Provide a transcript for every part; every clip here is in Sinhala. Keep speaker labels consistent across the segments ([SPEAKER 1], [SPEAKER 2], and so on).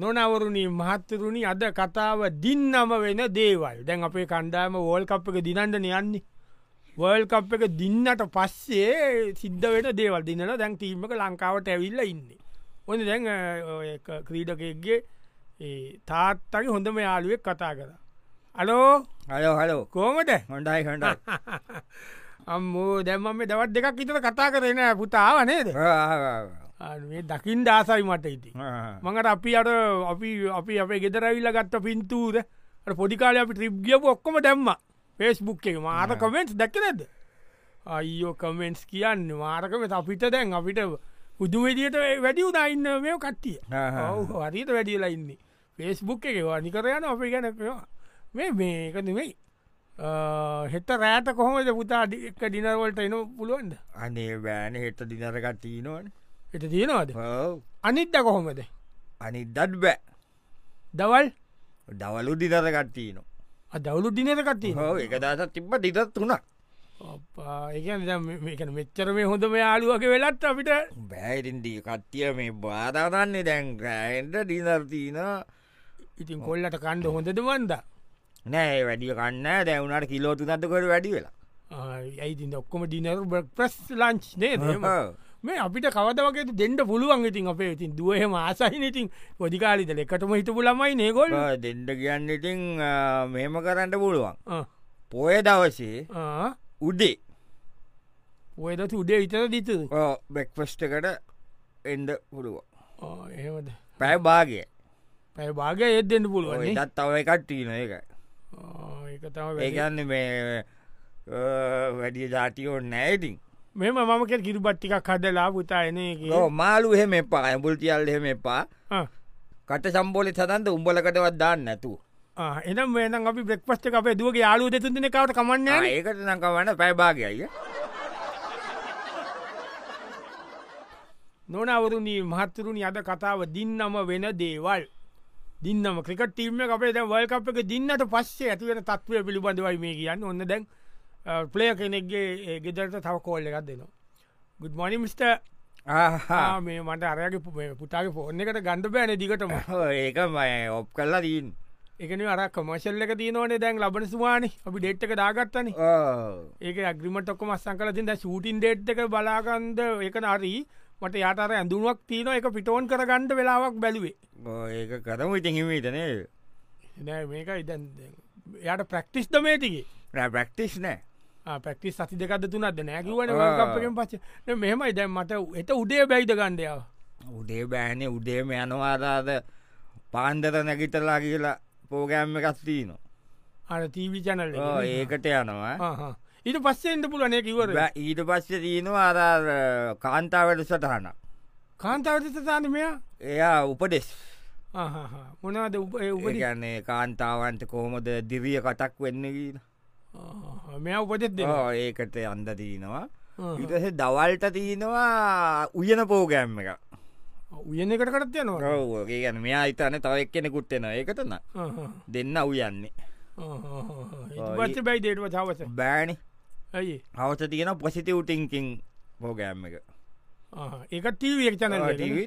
[SPEAKER 1] නොනවරුණී මහත්තරුණි අද කතාව දින්නම වෙන දේවල් දැන් අපේ කණ්ඩායම වෝල් කප් එක දිනන්ඩන යන්නේ වර්ල් කප් එක දින්නට පස්සේ සිද්ධ වෙන දේවල් දින්නල දැන් තීමක ලංකාවට ඇවිල්ල ඉන්නේ ඔන්න දැන් ක්‍රීඩකගේ තාත්තගේ හොඳම යාළුවෙක් කතා කර අලෝ
[SPEAKER 2] හලෝ හලෝ
[SPEAKER 1] කෝමට
[SPEAKER 2] හොඩයි හොඩ
[SPEAKER 1] අම්මෝ දැම්ම දවත් දෙකක් විතර කතා කරන පුතාව නේද මේ දකිින් දාසයි මට ඉති මඟට අපි අට අපි අපි අපේ ගෙදරවිල්ල ගත්ත පින්තූද අර පොඩිකාල අපි ්‍රිප් ගියපු ඔක්කොම දැම්ම පේස්බුක් එක මාර කමෙන්ට් දැක නැද අයිෝ කමෙන්ට්ස් කියන්න මාරකම අපිට දැන් අපිට පුදුමදියට වැඩි උදාඉන්න මේ කට්ටිය ඔව් හරිත වැඩියලා ඉන්නේ පේස්බුක් එක නිකරයන අපි ගැනකවා මේ මේක නෙමෙයි හෙත රෑත කොහොමද පුතා ඩි- එක ඩිනර්වලට එන පුළුවන්ද
[SPEAKER 2] අනේ බෑන හෙට දිනරකට තිීනවන
[SPEAKER 1] එට තියෙනවාද
[SPEAKER 2] හෝ
[SPEAKER 1] අනිත්ත කොහොමද
[SPEAKER 2] අනි දත් බෑ
[SPEAKER 1] දවල්
[SPEAKER 2] දවලු දිනරකට තිීන
[SPEAKER 1] අ දවුලු දිනකත්ති
[SPEAKER 2] හෝ එක දසත් තිබ්බ දිදත් තුනක්
[SPEAKER 1] ඒ මෙච්චර මේ හොඳම යාලුවගේ වෙලත් අපිට
[SPEAKER 2] බෑරින්දී කට්ටිය මේ බාධාතන්නේ දැන් ගෑන්ට දිනර්තිීන
[SPEAKER 1] ඉතින් කොල්ලට කණ්ඩ හොඳද වන්ද
[SPEAKER 2] නෑ වැඩිය කන්න දැවුණට කිලෝතු නතකොට වැඩි වෙලා
[SPEAKER 1] ඇයිතින් ඔක්කොම ඩිනර් බක් ප්‍රස් ලංච් නේ එහෙම. මේ අපිට කවද වගේ දෙන්නට පුළුවන් ඉතින් අපේ ඉතින් දුවහම ආසහින ඉතින් පොඩිකාලිතල එකටම හිටපු ළමයි නේගොල්
[SPEAKER 2] ඔව්. දෙන්ඩ කියන්න ඉතින් ආ, මෙහෙම කරන්න පුළුවන් පොය දවසේ උඩේ
[SPEAKER 1] ඔයදතු උඩේ විතර දිිතු
[SPEAKER 2] බෙක්ෆස්ටකට එන්ඩ පුළුවන්
[SPEAKER 1] එහෙමද
[SPEAKER 2] පැය භාගය
[SPEAKER 1] පැ භාගය ඒත් දෙන්න පුළුවන් නේ.
[SPEAKER 2] ඔයත් තව එකත් ටීන එක
[SPEAKER 1] ආ, ඒක තම
[SPEAKER 2] ඒගන්න මේ වැඩිය ජාතියෝ නෑඉතින්
[SPEAKER 1] මෙම මම කෙ කිරිබට්ටිකක් හදලා පුතා එන එක
[SPEAKER 2] ලෝ මාලු හෙම එපා ඇඹුල් තියල් හෙම එපා
[SPEAKER 1] ආ.
[SPEAKER 2] කට සම්බෝලි සතන්ද උඹලකටවත් දාන්න නැතු
[SPEAKER 1] ආ, එනම් වෙනම් අපි බෙක්පස්ට අපේ දුවගේ යාලු දෙතුන්දින කවට කමන්න
[SPEAKER 2] ඒකට නකවන්න පැබාගයය
[SPEAKER 1] නොනවරුණී මහත්තරුණි අද කතාව දින්නම වෙන දේවල් දින්නම ක්‍රිකට ටීම අපේ දැ වල්කප් එක දින්නට පස්සේ ඇතිවෙන තත්වය පිළිබඳවයි මේ කියන්න ඔන්න දැන් පලය කෙනෙක්ගේ ඒ ගෙදරට තව කෝල්ල එකක් දෙනවා ගුඩ්මනි මිට මේ මට අරයගේ පු- මේ පුතාගේ ෆෝර්න එකට ගණඩ බෑන දිගටම
[SPEAKER 2] ඒක මයි ඔප් කල්ලා දීන්
[SPEAKER 1] එකන අර කොමශල්ල එක තියනවනේ දැන් ලබන ස්වාන අපි ඩෙට්ක දාගත්තන ඒක ඇග්‍රිමටක්ක මස්සං කල තිද ශූටින් ඩේට් එක බලාගන්ද එක නරී මට යාතර ඇඳුවක් තියන එක පිටෝන් කරගන්නඩ වෙලාවක් බැලුවේ
[SPEAKER 2] ඒක කරම ඉති හිමීතනේ
[SPEAKER 1] නෑ මේක ඉදන් යට ප්‍රක්ටිස් දමේටිගේ
[SPEAKER 2] ප්‍රක්ටිස් නෑ
[SPEAKER 1] පැක්ටිස් සති දෙකද තුනක්ද නෑකිවන පච මෙහමයි දැන් මට එත උඩේ බැයිද ගණ්ඩයාව
[SPEAKER 2] උඩේ බෑනේ උඩේම යනවාදාද පාන්දර නැගිටලා කියලා පෝගෑම්ම එකස්තිීන
[SPEAKER 1] අර තීවි චනල
[SPEAKER 2] ඒකට යනවා
[SPEAKER 1] ඊට පස්සෙන්ට පුලනේ කිවර
[SPEAKER 2] බෑ, ඊට පස්ස දීනවා අරාර කාන්තාවට සටහන
[SPEAKER 1] කාන්තාවටතතාන මෙයා
[SPEAKER 2] එයා උපදෙස්
[SPEAKER 1] මොනාද උප උප
[SPEAKER 2] උපගන්නේ කාන්තාවන්ට කොහොමද දිවිය කටක් වෙන්න කියන
[SPEAKER 1] මෙයා උපදෙත් දෙ
[SPEAKER 2] ආ, ඒකට අන්ද දීනවා ඉටස දවල්ට තියනවා උයන පෝගෑම් එක
[SPEAKER 1] උයන එකට කරත් යනවා
[SPEAKER 2] රෝගේ ගැන මෙයා ඉතන්න තවක් කෙන කුට්ටෙන එකතන දෙන්න උයන්නේ
[SPEAKER 1] පස්ස බැයි දේටව තවස
[SPEAKER 2] බෑනි
[SPEAKER 1] ඇයි
[SPEAKER 2] හවස තියෙන පොසිටව් ටිංකින් පෝගෑම් එක
[SPEAKER 1] එකත් තීවියක් චනල
[SPEAKER 2] බෑන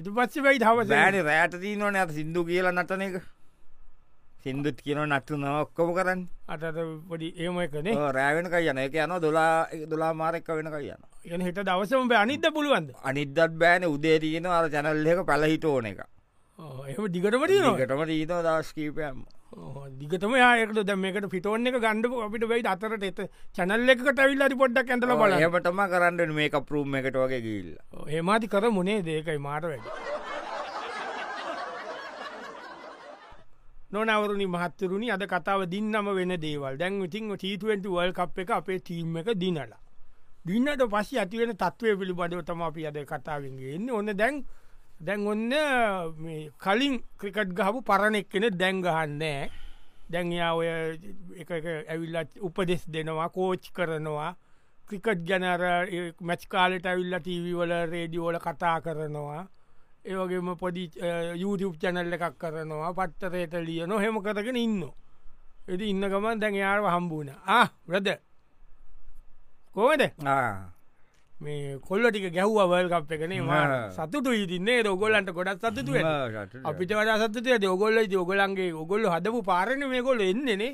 [SPEAKER 1] ඉට පස්ස බයි තවස
[SPEAKER 2] රෑට තිීනවන ඇත සිින්දු කියලා නටන එක සිින්දුත් කියන නටන ඔක්කොම කරන්න
[SPEAKER 1] අතට පොඩි ඒමයි කනේ
[SPEAKER 2] ඔව්, රෑවෙනක යන එක යන දොලා දොලා මාරෙක්ක වෙනක යන
[SPEAKER 1] යන හෙට දවසම බ අනිද පුළුවන්ද
[SPEAKER 2] අනිදත් බෑන උදේ තියෙන අර චැනල් එක පැලහිට ඕන එක
[SPEAKER 1] එහම දිගටමට නවා
[SPEAKER 2] ගටම රීත දශකීපයම්
[SPEAKER 1] දිගතම යකට දැමකට පිටෝන් එක ගණ්ඩපු අපිට වෙයි අතරට එත චැනල්ල එකට විල්ල පොඩ්ඩක් ඇඳල බල
[SPEAKER 2] එහමටම කරන්න මේක පරුම් එකට වගේ ගිල්ල
[SPEAKER 1] ඒමාති කර මුණේ දේකයි මාට වැඩ නොනවරුණනි මහත්තරුණි අද කතාව දින්නම වෙන දේවල් දැන් ඉතින් T20 වල් කප් එක අපේ ටීම් එක දිනලා දින්නට පස්ස ඇතිවෙන තත්වය පිළිබඳව තම අපි අද කතාවගේ එන්න ඔන්න දැන් දැන් ඔන්න මේ කලින් ක්‍රිකට් ගහපු පරණෙක් කෙන දැන් ගහන්නෑ දැන්යා ඔය එක එක ඇවිල්ල උපදෙස් දෙනවා කෝච් කරනවා ක්‍රිකට් ගැනර මැච් කාලට ඇවිල්ල ටීවවල රේඩියෝල කතා කරනවා ඒවගේම පොඩි අ, YouTube චැනල්ල එකක් කරනවා පත්තරයට ලියන හෙම කරගෙන ඉන්න එති ඉන්න ගමන් දැන් යාව හම්බුණ ආ රද කෝද මේ කොල්ලටික ගැහ්ව අවල් කප් එකනේ ම සතුතු ඉතින්නේ දෝගොල්ලන්ට ගොඩත් සතුතු අපිට වඩා සතතිය දෝගොල්ල යෝගොලන්ගේ ඔගොල්ල හදපු පාරණ මේ කොල්ල එන්නේනේ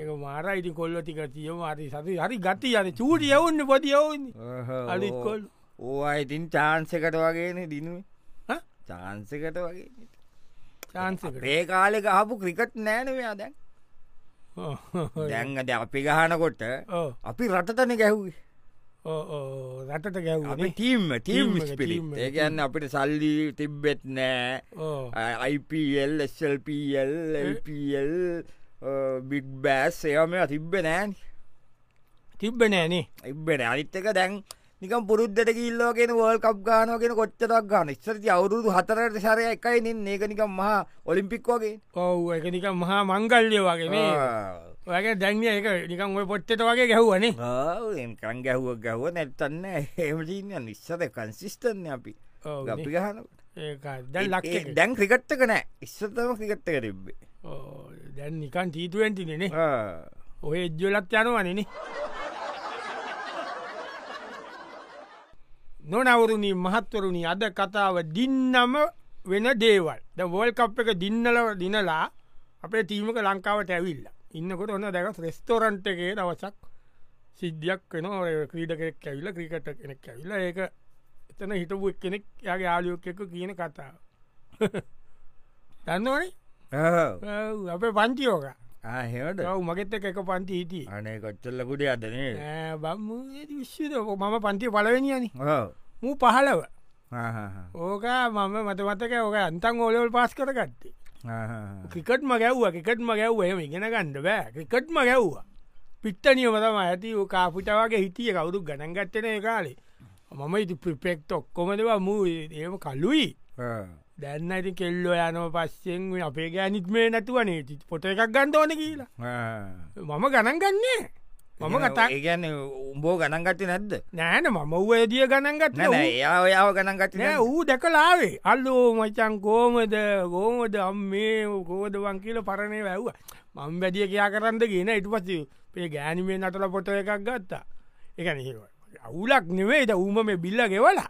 [SPEAKER 1] ඒක මාර ඉති කොල්ලටික තියම අරි සතු හරි ගත්ති අන චූටි යවන්න පොති යවන්න අලිත්කොල්
[SPEAKER 2] ඕ ඉතින් චාන්සකට වගේන දිනුවේ චාන්සකට වගේ
[SPEAKER 1] චාන්සක
[SPEAKER 2] ඒ කාලෙ ගහපු ක්‍රිකට් නෑනවයා දැන් දැන්ගද අපි ගහනකොට අපි රටතන ගැහ්වේ
[SPEAKER 1] රටට ගැව්
[SPEAKER 2] ටීම් ටීම් පිරිත් ඒකන්න අපිට සල්ලි තිබ්බෙත් නෑ අයිපල් එල්පල් එල්පල් බික් බෑස් ඒම තිබ්බ නෑන්
[SPEAKER 1] තිබ්බ නෑනේ
[SPEAKER 2] එබ්බෙන අනිත්තක දැන් නිකම් පුරුද්ධට කිල්ලෝගෙන වල් කප් ගානෝගෙන කොච්චරක් ගන්න ස්සරති අවුරුදු හතරට සරය එකයි නෙන් ඒක නිකම් මහා ඔලිම්පික් වගේ
[SPEAKER 1] ඔව් එක නිකම් මහා මංගල්ලය වගේ මේ වගේ දැන්ිය එක නිකන් ඔය පොට්ටට වගේ ගැහ්වනේ
[SPEAKER 2] කන් ගැහුව ගැහුව නැත්තන්න හෙමටීන්න නිස්සද කන්සිිස්ටන්න අපි අපි ගහන
[SPEAKER 1] දැන් ලක්
[SPEAKER 2] දැන් ක්‍රිකට්ටක නෑ ඉස්සතම ක්‍රිකට්ටක තිබ්බේ
[SPEAKER 1] දැන් නිකන් තීතුවෙන්තිනෙන ඔය එජ්ජලත් යනවනනේ නොනවරුණී මහත්වරුණි අද කතාව දින්නම වෙන දේවල් ද වෝල් කප් එක දින්නලව දිනලා අපේ තීමක ලංකාවට ඇවිල්ලා ඉන්නකොට ඔන්න දැක රෙස්තෝරන්ට එකේ දවසක් සිද්ධියක් වෙන ක්‍රීඩ කෙනෙක් ඇවිල ක්‍රිකට කෙනෙක් ඇවිල ඒක එතන හිටපු කෙනෙක් යාගේ යාලියෝක් එක කියන කතාව දන්නවනේ අපේ පංචියෝක
[SPEAKER 2] ආහෙට
[SPEAKER 1] මගෙත් එක පන්ති හිටිය
[SPEAKER 2] අනේ කොච්චල්ලකුට අදනේ
[SPEAKER 1] බම් විශ්ෂද මම පන්තිය පලවෙනියනි මූ පහලව ඕක මම මතමතක ඕක අන්තන් ඕලවල් පාස් කරගත්තේ ක්‍රිකට්ම ගැව්ව ක්‍රිකට්ම ගැව්ව එම ඉගෙන ගණඩ බෑ ක්‍රිකට්ම ගැව්වා පිට්ටනියම තම ඇති කාපිට වගේ හිටිය කවුරු ගණන්ගත්තන කාලේ මම ඉති ප්‍රිපෙක්ට ඔක්කොමදවා මූ ඒම කලුයි දැන්න ඇති කෙල්ලෝ යනව පස්සෙන් අපේ ගෑනිත් මේ නැතුවනේ ති පොට එකක් ගන්න ඕන කියලා මම ගණන් ගන්නේ
[SPEAKER 2] මම කතා ඒගැන උඹෝ ගණන්ගත්ති නැද්ද
[SPEAKER 1] නෑන මම වේදිය ගණන්ගත්
[SPEAKER 2] යාව යාව ගණන්ගත්
[SPEAKER 1] ඌ දැකලාවේ අල්ලෝ මචන් කෝමද ගෝමද අම් මේ කෝද වන් කියල පරණය වැැව්ව මං බැදිය කියයා කරන්න කියන ඉටු පස්ස පේ ගෑනිමේ නටල පොට එකක් ගත්තා එකන අවුලක් නෙවේද ඌම මේ බිල්ල ගෙවලා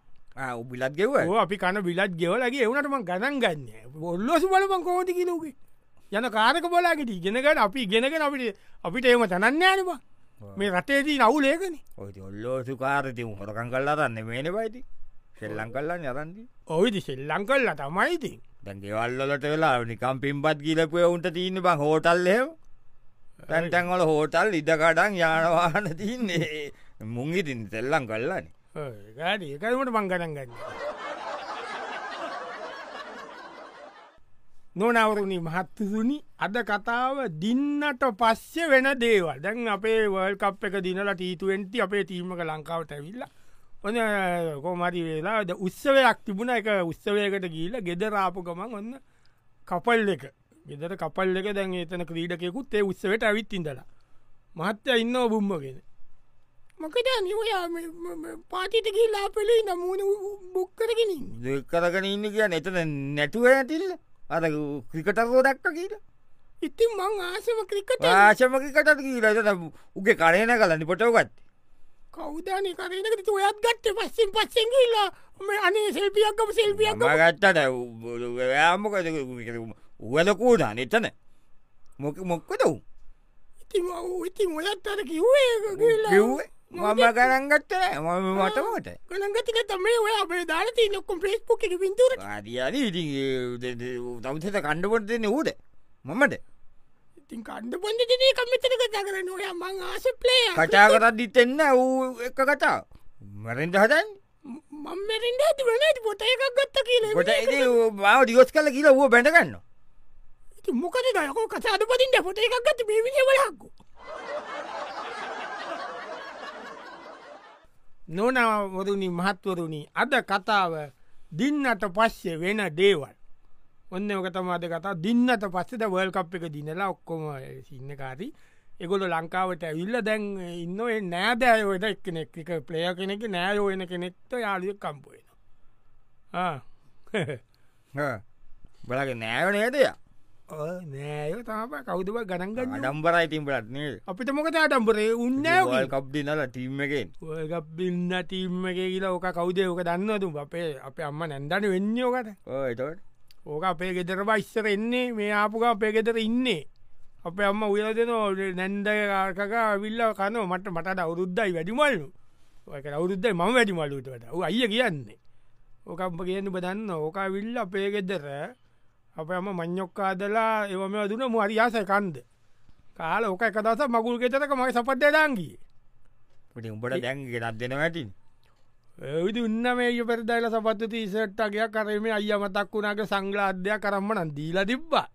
[SPEAKER 2] උබිලත් ගෙව
[SPEAKER 1] අපි කන බිලත් ගෙවලගේ එවනටම ගණන් ගන්න ඔල්ලොස බලපන් කෝමති කිලූගේ යන කාරක බලාගෙට ඉගෙනකට අපි ඉගෙනගෙන අපිට අපිට එම තනන්න යනවා මේ රටේදී නවුලේකන
[SPEAKER 2] ඔයි ඔල්ලෝසු කාරති හොරකං කල්ලා දන්න මේන පයිති සෙල්ලං කල්ලා යරන්දි
[SPEAKER 1] ඔයිද සෙල්ලං කල්ලා තමයිති
[SPEAKER 2] දැන්ගේවල්ලට වෙලා නිකම් පිම්බත් ගිලපුය උන්ට තියන්න බං හෝටල්ලයම තැන්ටැන්වල හෝටල් ඉඩකඩන් යානවාන තියන්නේ මුංගිතින් සෙල්ලං කල්ලාන
[SPEAKER 1] ඒකමට බංගඩන් ගන්න නොනවරුණි මහත්තතුනි අද කතාව දින්නට පස්්‍ය වෙන දේවල් දැන් අපේ වල් කප් එක දිනලා ටීතුවෙන්ති අපේ තීමක ලංකාවට ඇවිල්ලා ඔන්න කොමරි වෙලා උත්සවයක් තිබුණ එක උත්සවයකට ගීල ගෙදරාපු ගමන් ඔන්න කපල් එක ගෙදර කපල් එක දැන් එතන ක්‍රීඩකෙකුත් ඒ උත්සවට ඇවිත්තිඳලා මහත්‍ය ඉන්න බුම්මගෙන මොකද නිවයා පාතිට කියලා පෙළේ නමුණ බොක්කරගෙන
[SPEAKER 2] දෙකරගෙන ඉන්න කිය නතන නැතුව ඇතිල්ල අර ක්‍රිකටරෝ දක්ක කියලා
[SPEAKER 1] ඉතින් මං ආසම ක්‍රිකට
[SPEAKER 2] ආශමකිකට කියීලට උගේ කරයන කලන්න පොටවගත්
[SPEAKER 1] කෞදාන කරනකට ඔයත් ගත්ත පස්සෙන් පස්සෙන් කියලා මේ අනේ සෙල්පියක්කම සෙල්පියක්
[SPEAKER 2] ගත්තට යාමක උවලකූඩ නතන මොක මොක්කද වූ
[SPEAKER 1] ඉති ඉති ඔයත් අර කිව්වේ
[SPEAKER 2] කිව්වේ මම කරන්ගත්ත ම මටමට
[SPEAKER 1] කළගතික තමයි ඔය අපේ දාරති නොක්කොම් ප්‍රේස්්පුක පින්තුර
[SPEAKER 2] ආදියාල ඉ තවසත කණ්ඩපොට දෙන්න ඌට මමට
[SPEAKER 1] ඉතින් කණ්ඩ පොන්දතින කමිතන කතා කරන්න ඔය මං ආස පලේ
[SPEAKER 2] කටා කරත් දිතෙන්න ඌ එක කතා මරෙන්ට හදන්
[SPEAKER 1] මම්මරෙන්ට ඇති වනට පොට එකක් ගත්ත කියල
[SPEAKER 2] කොට බව දිියොස් කල කියලා ඌ බැඳගන්න
[SPEAKER 1] මොකද දයකෝ කසාද පතින්ට පොට එකක් ගත පිවිලක්කු නොනවරුණි මහත්වරුණි අද කතාව දින්නට පස්සේ වෙන දේවල් ඔන්න ඔකතම අද කතා දින්නට පස්සෙද වල් කප් එක දිනලා ඔක්කොම සින්නකාරී එකොල ලංකාවට ඇවිල්ල දැන් ඉන්න නෑදෑයෝට එක්නෙක් එක ප්ලය කෙනෙක නෑයෝයන කෙනෙක්ට යාලිය කම්පුවෙන
[SPEAKER 2] බලග නෑව නේදය
[SPEAKER 1] නෑය තම කෞදව ගණන්ගන්න
[SPEAKER 2] ඩම්බරයි තිම්බලත්නේ
[SPEAKER 1] අපිට මොකද අඩම්බරේ උන්න
[SPEAKER 2] කබ්දිනල ටීම්මකෙන්
[SPEAKER 1] ගබ්බින්න ටීම්මගේ කියලා ඕක කෞදේ ඕක දන්නතු අපේ අප අම්ම නැන්දන වෙන්නෝකට
[SPEAKER 2] ඒතට
[SPEAKER 1] ඕක අපේ ගෙදර බයිස්සර එන්නේ මේ ආපුක අපේ ගෙදර ඉන්නේ අපේ අම්ම උයල දෙන නැන්දකාර්කක විල්ල කනෝ මට මට අවුරුද්දයි වැඩිමල්ලු ඔයක අවුරුද්දයි මම වැඩිමලුටට අය කියන්නේ ඕකම්ප කියන්න බදන්න ඕක විල්ල අපේ ගෙදර අප එම මං්ඥොක්කාදලා එවම දුන මහරියාස කන්ද කාල ඕක එකදස මගුල් ගෙතක මගේ සපට්ට දාංගිය
[SPEAKER 2] පටි උඹට දැන්ගේ රත් දෙෙන ඇතින්
[SPEAKER 1] ඇවිදි උන්න මේ පෙරදාල සපත්තු තිීසට්ටගේ කරේ අය මතක් වුණගේ සංගල අධ්‍යයක් කරම්ම නම් දීලා තිබ්බා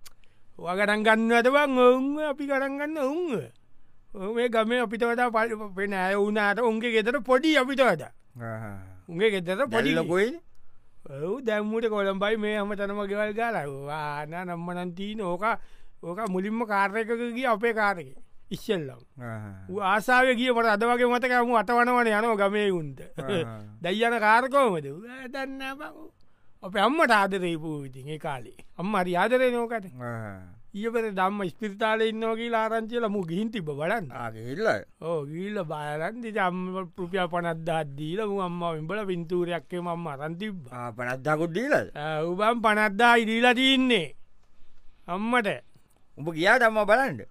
[SPEAKER 1] වගටන් ගන්න ඇතවන් ඔවුන් අපි කරගන්න ඔවුන් මේ ගමේ අපිට වඩා පල් පෙන ඇය වුණට උන්ගේ ගෙතර පොඩි අපිට වඩ උගේ ගෙතර පොඩි
[SPEAKER 2] ලොකොයි
[SPEAKER 1] ඔව දැම්මට කොළම්බයි මේ හම තනම ගෙවල් ගලවාන නම්ම නන්තිීන ඕක ඕක මුලින්ම කාර්යකකගේ අපේ කාරක ඉස්සල්ලම් ආසාාව ගිය මට අද වගේ මතකම අතවනවන යනෝ ගමේ උන්ට දැයියන කාරකෝමද දන්න අපේ අම්මට ආදරේපු ඉතින් ඒ කාලේ අම්ම අරි ආදරේ නෝකට ඊපට දම්ම ස්පිරිතාල ඉන්නවගේ ආරංචියල මු ගිහින් තිබ බලන්න
[SPEAKER 2] ආගල්ල
[SPEAKER 1] ඕ ගීල්ල බාරන්ති ජම් පෘපිය පනද්දාත්දීල මු අම්ම එම්බල පින්තූරයක්කේ මම අරන්තිබ
[SPEAKER 2] පනද්දාකුඩ්දීල
[SPEAKER 1] උබම් පනද්දා ඉදීලා තින්නේ අම්මට
[SPEAKER 2] උඹ කියා දම්ම බලන්ඩ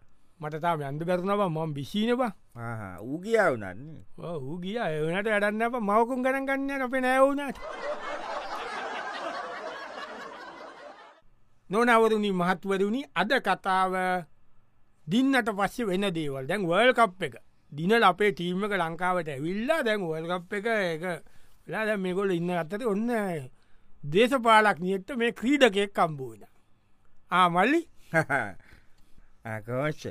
[SPEAKER 1] මටතාම යන්ද කරනව මම බිසිීනවා
[SPEAKER 2] ඌ කියා වනන්නේ
[SPEAKER 1] ඌ ගිය එවනට වැඩන්න අප මවකුම් කරන ගන්න අපේ නෑවුනට නොනවරුණි මහත්වරුණි අද කතාව දින්නට පස්සේ වෙන දේවල් දැන් වර්ල්කප් එක දිනල අපේ ටීම්මක ලංකාවට ඇවිල්ලා දැන් වල්කප් එක එක ලා දැ මේගොල ඉන්න අත්තට ඔන්න දේශපාලක් නියට මේ ක්‍රීඩකෙක් කම්බූන ආමල්ලි
[SPEAKER 2] ආකෝෂ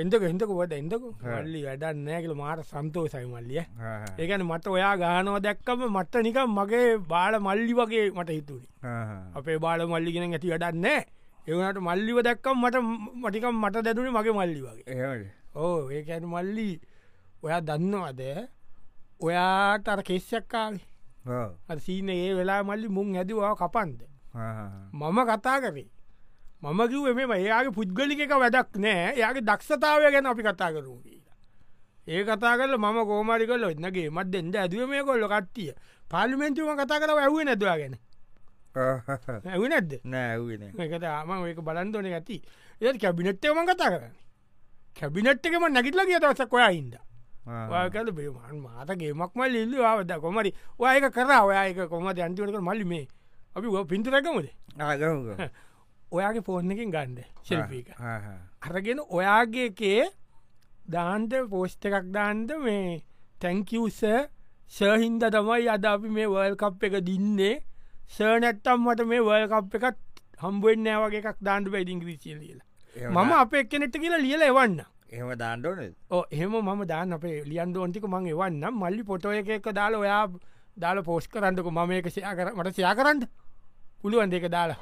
[SPEAKER 1] එදක එදකුවට එදකු හල්ලි වැඩන්න නෑකල මාට සන්තෝ සයිමල්ලිය ඒකන මට ඔයා ගානව දැක්කම මට නිකම් මගේ බාල මල්ලි වගේ මට හිතුනේ අපේ බාල මල්ලිගෙන ඇති වැඩන්න එවනට මල්ලිව දැක්කම් මට මටිකම් මට දැදුනේ මගේ මල්ලි වගේ ඕ ඒකන මල්ලි ඔයා දන්නවද ඔයා තර කෙස්සක්කාවේ අසීන ඒ වෙලා මල්ලි මුං හැදවා කපන්ද මම කතා කරේ මම කිව් එම ඒයාගේ පුද්ගලික වැඩක් නෑ යාගේ දක්ෂතාවය ගැන අපි කතා කරු කියලා. ඒ කතා කල ම කෝමරි කල ඔන්නගේ මත් දෙෙන්ද ඇදුව මේ කොල්ල කට්ටිය පාලිමෙන්තුම කතා කර ඇව නැදවා ගැන ඇව නැද
[SPEAKER 2] නෑවෙන
[SPEAKER 1] එකතාම ඒක බලන්දොන ඇති ඒ කැබිනට්ටම කතා කරන්න කැබිනට්කම නැගිටල කිය දවසක් ඔයා ඉන්ද වාකල බේමන් මාතගේමක්ම ලිල්ලි ආවද කොමරි ඔයක කර ඔයක කොමද අන්තිවනක මල්ලි මේ අපි පින්තරකමද
[SPEAKER 2] ආග
[SPEAKER 1] ඔයාගේ ෆෝර්ණකින් ගන්ඩ ශිල්පීක අරගෙන ඔයාගේකේ දාන්ට පෝස්්ට එකක් දාන්ට මේ තැංකවස සර්හින්ද තමයි අද අපි මේ වල් කප් එක දින්නේ සර්නැත්තම් මට මේ වල් කප් එකත් හම්බුවෙන් නෑවගේ එකක් දාන්ට වැඩිංග්‍රීසිය ලියලා මම අප එක්කනෙට කියලා ලියල එවන්න
[SPEAKER 2] එහම දාන්ඩෝන
[SPEAKER 1] එහෙම මම දාන්න අපේ ලියන් ෝන්ටික මං එවන්න මල්ලි පොටෝ එකක දාල ඔයා දාල පෝස්් කරන්නක මම එක සයා කර මට සයා කරන්න පුළුවන් දෙක දාලා